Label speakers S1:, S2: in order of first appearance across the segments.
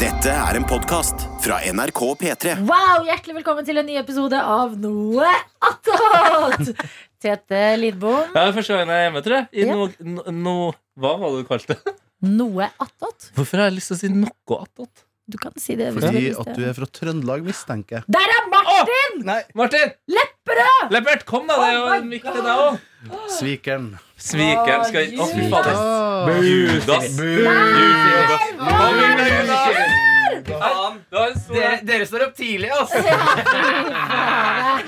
S1: Dette er en podkast fra NRK P3.
S2: Wow, Hjertelig velkommen til en ny episode av Noe attåt! Tete Lidbom.
S3: Ja, det er første gangen jeg er hjemme, tror jeg. I
S2: Ja.
S3: no, no, no, hva var det du kalte det?
S2: Noe attåt?
S3: Hvorfor har jeg lyst til å si noe attåt?
S2: Du kan si det. hvis
S4: Fordi
S2: du
S4: at
S2: har lyst
S4: du
S2: til.
S4: er fra Trøndelag, mistenker jeg.
S2: Der er Martin!
S4: Nei,
S3: Martin! Lepperød! Leppert, kom da! Det er jo
S2: Oh my
S3: en mikk til deg òg.
S4: svikeren.
S3: Svikeren skal inn. Å, fy fader.
S4: Ah.
S3: Judas. Judas. Kom inn, Judas! Faen, det var en
S5: Dere,
S3: stor
S5: dere står opp tidlig, ass!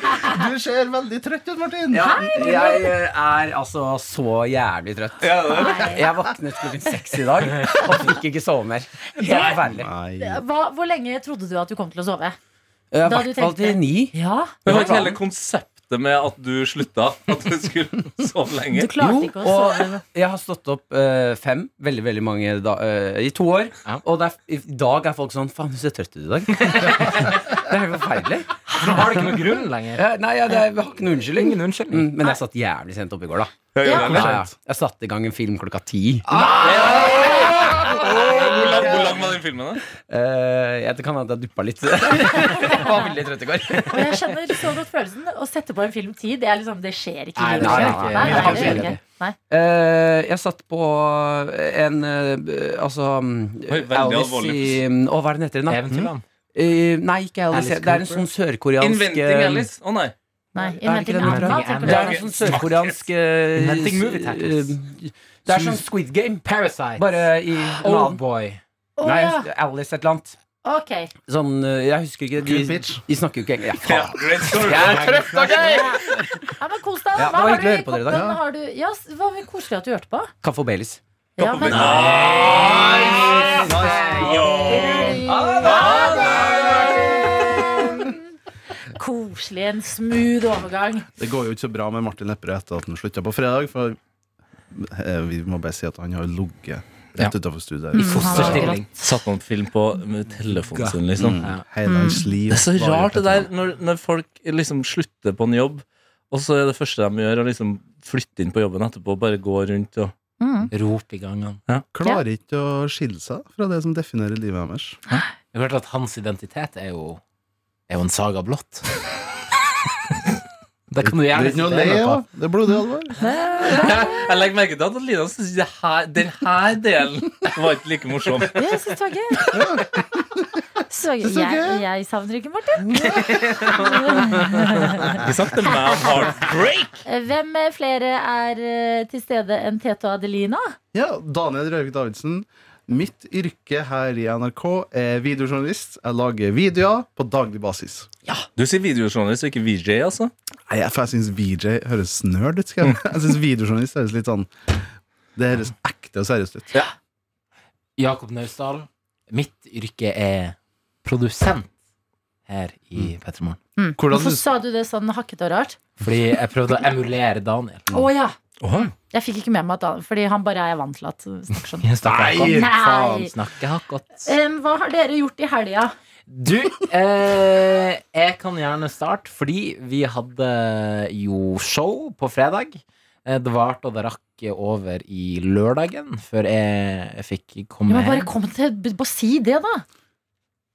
S4: Du ser veldig trøtt ut, Martin.
S5: Ja, jeg eh, er altså så jævlig trøtt.
S3: ja, det.
S5: Jeg våknet klokken seks i dag og fikk ikke sove mer. Helt forferdelig.
S4: Nei.
S2: Hva, hvor lenge trodde du at du kom til å sove?
S5: I
S2: Da du
S5: hvert fall til
S2: tenkte-
S5: ni.
S2: Ja,
S3: Men var ikke hele konseptet med at du slutta? At du skulle sove
S2: Du
S3: lenge?
S2: klarte
S5: Jo,
S2: ikke å
S5: og
S2: sove.
S5: jeg har stått opp eh, fem, veldig veldig mange da, eh, i to år. Og det er, i dag er folk sånn Faen, du ser trøtt ut i dag. det er helt forferdelig.
S6: Har du ikke noen grunn lenger?
S5: Eh, nei, ja, det er, jeg har ikke noen unnskyldning.
S6: Ingen unnskyldning.
S5: Mm, men jeg satt jævlig sent oppe i går, da.
S2: Ja.
S5: Ja, ja. Jeg satte i gang en film klokka ti.
S3: Hvor lang, hvor lang var den filmen? da?
S5: Eh, jeg- det kan hende at jeg duppa litt. jeg var veldig trøtt i går.
S2: Og jeg kjenner så godt følelsen. Å sette på en film tid, det er liksom Det skjer ikke.
S5: Nei,
S2: i livet.
S5: nei, nei, nei.
S2: nei,
S5: Jeg kan
S2: det gjør
S5: si
S2: ikke.
S5: det.
S2: Nei.
S5: Eh, jeg satt på en eh, Altså
S3: Oi, veldig
S5: Alice
S3: alvorlig.
S5: i Å, hva er den heter den? da?
S6: Eventyrland.
S5: Eh, nei, ikke Alice.
S6: Alice
S5: det er en
S6: Cooper.
S5: sånn sørkoreansk
S3: Inventing Alice? Å nei.
S2: Nei,
S5: det ikke
S2: Inventing
S5: den du tror?
S2: Anna,
S6: Inventing
S2: tenker
S5: Det er
S2: du.
S5: en sånn sørkoreansk eh,
S6: Inventing movie titles.
S5: eh, Det er sånn Squid Game,
S6: Parasite.
S5: bare i
S6: Old
S5: Nav.
S6: boy.
S2: Å
S5: Nei,
S2: ja.
S5: Alice et eller annet.
S2: Ok.
S5: Sånn eh, Jeg husker ikke.
S4: Good
S5: De,
S4: bitch.
S5: de snakker jo ikke engang. Ja,
S3: Ja, great story.
S5: jeg er trøtt, OK!
S2: Ja, men kos deg.
S5: Ja,
S2: da.
S5: det
S2: Hva
S5: var
S2: har du
S5: hyggelig å
S2: i
S5: høre på dere i dag.
S2: koppen? Har du- Ja, s- hva koselig at du hørte på.
S5: Kaffe og Baileys.
S2: Ja, men Koselig, en smooth overgang.
S4: Det går jo ikke så bra med Martin Lepperød etter at han slutta på fredag, for eh, vi må bare si at han har ligget
S6: Ja.
S4: rett utenfor studiet Mm. her.
S6: Fosterstilling.
S3: Satt noen film på med telefonen sin, liksom.
S4: Mm. Hele hans liv.
S3: Det er så
S4: var jo
S3: rart det der
S4: dette.
S3: når, når folk liksom slutter på en jobb, og så er det første de gjør, å liksom flytte inn på jobben etterpå og bare gå rundt og
S2: Mm.
S6: Rop i gangen.
S4: Klarer ikke å skille seg fra det som definerer livet deres.
S6: Jeg hørte at hans identitet er jo Er jo en saga blått. det kan du
S4: Det er
S6: gjerne
S4: ikke noe å le
S6: si noe på.
S4: av. Det er blodig alvor.
S3: Jeg legger merke til at Lina syns det her- den her delen var ikke like morsom.
S2: Ja, Jeg syns det var gøy. Så gøy.
S4: Synes det var
S2: Jeg,
S4: gøy.
S2: jeg savner ikke Martin.
S3: Ikke sant? The man heartbreak!
S2: Hvem flere er eh, til stede enn Tete og Adelina?
S4: Ja, Daniel Røvik Davidsen. Mitt yrke her i NRK er videojournalist. Jeg lager videoer på daglig basis.
S3: Du sier videojournalist og ikke VJ, altså?
S4: Nei, jeg, for jeg syns VJ høres nerd ut. Skal jeg
S3: Mm.
S4: jeg syns videojournalist høres litt sånn Det høres ekte og seriøst ut.
S6: Jakob Naustdal. Mitt yrke er produsent her i P3 Morgen.
S4: Hvordan
S2: Hvorfor
S4: synes-
S2: sa du det sånn hakkete og rart?
S6: Fordi jeg prøvde å emulere Daniel.
S2: Mm. Å ja.
S3: Åh.
S2: Jeg fikk ikke med meg at han Fordi han bare er vant til at snakker sånn.
S6: Snakker
S2: Nei! Eh.
S6: hakket. Faen, snakker hakket.
S2: Em, hva har dere gjort i helga?
S6: Du, eh, jeg kan gjerne starte, fordi vi hadde jo show på fredag. Eh, Det varte og det rakk over i lørdagen før jeg fikk
S2: Ja,
S6: komme
S2: men bare
S6: hjem.
S2: kom til Bare si det, da.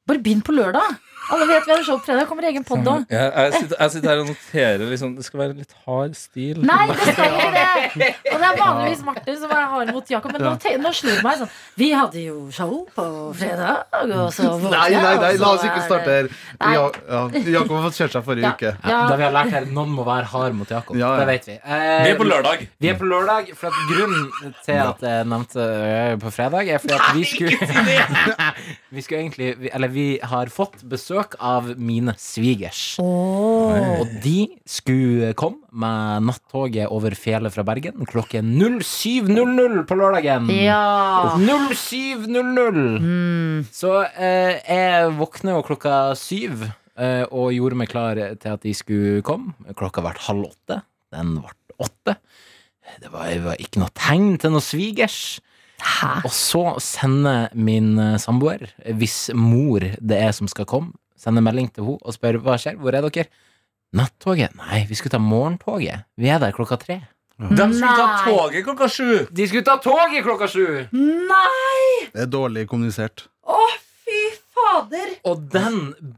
S2: Bare begynn på lørdag. Alle vet vi har show på fredag. Kommer egen podd òg.
S3: Jeg, jeg, sitter, jeg sitter her og noterer liksom Det skal være litt hard stil.
S2: Nei, det skal ikke det! Og det er vanligvis Martin som er hard mot Jakob, men nå, te- nå snur det meg sånn. Vi hadde jo show på fredag, og så våkna
S4: Nei,
S2: jeg,
S4: nei,
S2: og
S4: nei,
S2: så
S4: la oss
S2: er
S4: ikke
S2: det-
S4: starte her.
S2: Nei.
S4: Ja, ja, Jakob har fått kjørt seg forrige
S2: Ja.
S4: uke.
S6: Ja, da vi har lært her noen må være hard mot Jakob.
S4: Ja, ja.
S6: Det vet vi. Eh,
S3: Vi er på lørdag.
S6: Vi er på lørdag, for at grunnen til at jeg nevnte eh, på fredag, er fordi at vi skulle Vi skulle egentlig vi- Eller vi har fått besøk av mine svigers.
S2: Åh.
S6: Og de skulle komme med nattoget over fjellet fra Bergen klokken 07.00 på lørdagen.
S2: Ja.
S6: 07.00!
S2: Ah. Mm.
S6: Så eh, jeg våkna jo klokka syv eh, og gjorde meg klar til at de skulle komme. Klokka ble halv åtte. Den ble åtte. Det var, det var ikke noe tegn til noe svigers.
S2: Hæ?
S6: Og så sender min eh, samboer, eh, hvis mor det er som skal komme, sender melding til henne og spør hva skjer, hvor er dere? Nattoget? Nei, vi skulle ta morgentoget. Vi er der klokka tre.
S3: De skulle ta
S2: Nei.
S3: toget klokka sju.
S6: De skulle ta toget klokka sju!
S2: Nei!
S4: Det er dårlig kommunisert.
S2: Å, fy fader!
S6: Og den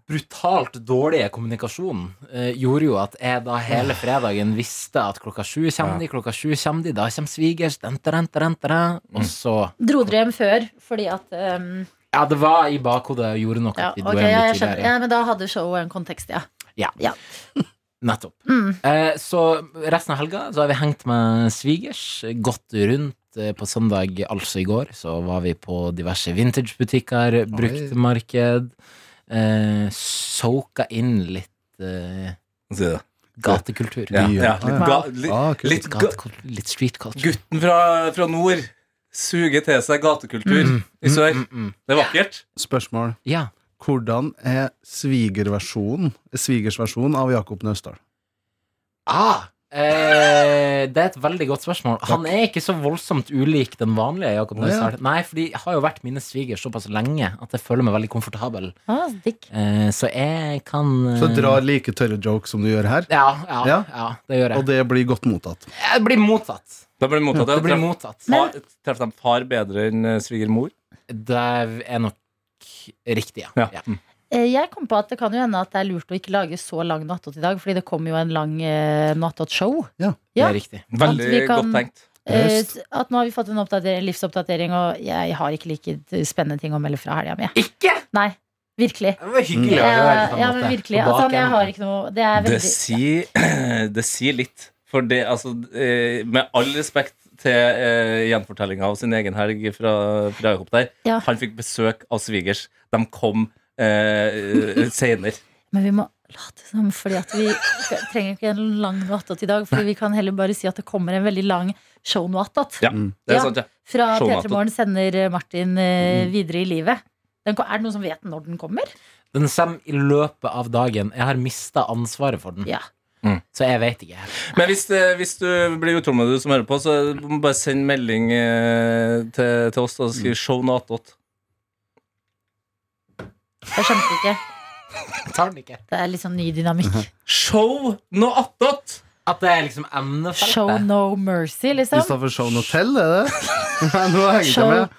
S6: brutalt dårlige kommunikasjonen eh, gjorde jo at jeg da hele fredagen visste at klokka sju kommer de, klokka sju kommer de, da kommer svigers, den, den, den, den,
S2: Mm.
S6: og så
S2: Dro dere hjem før fordi at ehm,
S6: Ja, det var i bakhodet og gjorde nok
S2: ja,
S6: at vi dro
S2: ok,
S6: hjem
S2: jeg
S6: litt
S2: skjønner.
S6: tidligere.
S2: Ja, men da hadde showet en kontekst, ja.
S6: Nettopp.
S2: Mm.
S6: Eh, så resten av helga så har vi hengt med svigers, gått rundt. eh, På søndag, altså i går, så var vi på diverse vintagebutikker, bruktmarked. Eh, soka inn litt eh,
S3: Si det.
S6: gatekultur.
S3: Ja, ja. Litt, ga, litt,
S4: Ah, kult.
S3: litt ga,
S6: Gatekultur, litt street culture.
S3: Gutten fra, fra nord suger til seg gatekultur i sør.
S6: Mm, mm.
S3: Det er vakkert.
S4: Spørsmål.
S6: Ja.
S4: Hvordan er svigerversjonen svigersversjonen av Jakob Nøsdal?
S6: Ah, eh, det er et veldig godt spørsmål. Han er ikke så voldsomt ulik den vanlige
S4: Å,
S6: Jakob
S4: ja.
S6: Nøstad. Nei, fordi jeg har jo vært mine svigers såpass lenge at jeg føler meg veldig komfortabel.
S2: Ah, så digg.
S6: Eh, så jeg kan eh,
S3: Mm.
S4: Så drar like tørre jokes som du gjør her,
S6: ja, ja, ja,
S4: Ja.
S6: det gjør
S4: og
S6: jeg.
S4: det blir godt mottatt.
S6: Jeg blir mottatt.
S3: Da blir det mottatt.
S6: Det
S3: Jeg
S6: blir
S3: treff-
S6: mottatt.
S3: far- Treff dem far bedre enn eh, svigermor.
S6: Det er nok riktig, ja. Mm.
S3: Ja.
S6: ja.
S2: Eh, Jeg kom på at det kan jo hende at det er lurt å ikke lage så lang nattåt i dag, fordi det kommer jo en lang eh, nattåt-show.
S6: Det
S2: Ja.
S6: er riktig.
S2: At
S3: Veldig
S2: vi kan-
S3: godt tenkt.
S2: Eh,
S4: Just.
S2: at nå har vi fått en oppdater- livsoppdatering, og jeg har ikke like spennende ting å melde fra helga mi.
S6: Ikke?
S2: Nei, virkelig.
S6: Det var hyggelig. å høre på
S2: Jeg,
S6: en
S2: ja,
S6: måte.
S2: men virkelig.
S6: På
S2: Altså,
S6: baken.
S2: jeg har ikke noe Det er
S3: Det
S2: veldig
S3: sier, det sier litt. For det, altså, eh, med all respekt til eh, gjenfortellinga av sin egen helg fra, fra Jakob der,
S2: Ja.
S3: han fikk besøk av svigers. De kom eh, seinere.
S2: Men vi må late som, fordi at vi skal- trenger ikke en lang noatot i dag. Fordi vi kan heller bare si at det kommer en veldig lang show-noatot.
S3: Ja, det er
S2: Ja.
S3: sant, ja.
S2: Fra
S3: show-noatot.
S2: P3 Morgen sender eh, Martin eh,
S6: Mm.
S2: videre i livet. Den, ko- er det noen som vet når den kommer?
S6: Den kommer i løpet av dagen. Jeg har mista ansvaret for den,
S2: Ja.
S6: så jeg vet ikke.
S3: Men hvis, eh, hvis du blir utålmodig, du som hører på, så må du bare send melding eh, til, til oss. Da skriv show natot.
S2: Jeg skjønte ikke.
S6: Jeg tar den ikke.
S2: Det er litt sånn ny
S6: Mhm.
S2: dynamikk.
S3: Show natot!
S6: At det er liksom emnefeltet.
S2: Show no mercy, liksom.
S4: Istedenfor Show Hotel, er det? Nei, Nå henger jeg ikke
S2: Show-
S4: med.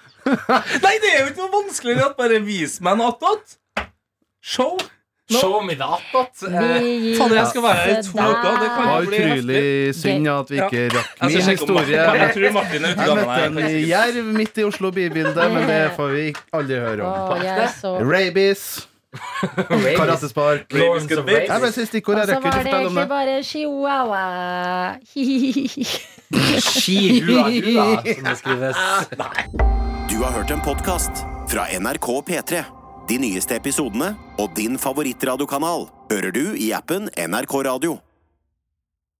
S3: Nei, det er jo ikke noe vanskeligere at bare vis meg natot. Show.
S6: Show me the attåt. Eh,
S2: Vi
S3: Fader, jeg skal være her i to
S2: Der.
S3: uker. Det
S4: Det
S3: kan
S4: var
S3: jo bli heftig.
S4: utrolig synd at vi ikke rakk
S3: Eh, Jeg
S4: min
S3: skal sjekke om
S4: historie.
S3: Martin- Jeg tror Martin er ute i
S4: Jeg
S3: gangen
S4: møtte
S3: her.
S4: en jerv midt i Oslo bybilde, men det får vi ikke- aldri høre om.
S2: Å, jeg er så
S4: Rabies, karatespark
S3: Rabies good bitch.
S4: Jeg bare sier stikkord.
S2: Og
S4: Jeg
S2: så
S4: rekker
S2: var
S4: ikke å
S2: det
S4: fortelle om
S2: egentlig
S4: det.
S2: bare chihuahua.
S6: Skihua, hua, som det skrives.
S1: Du har hørt en podcast fra NRK P3. De nyeste episodene og din favorittradiokanal hører du i appen NRK Radio.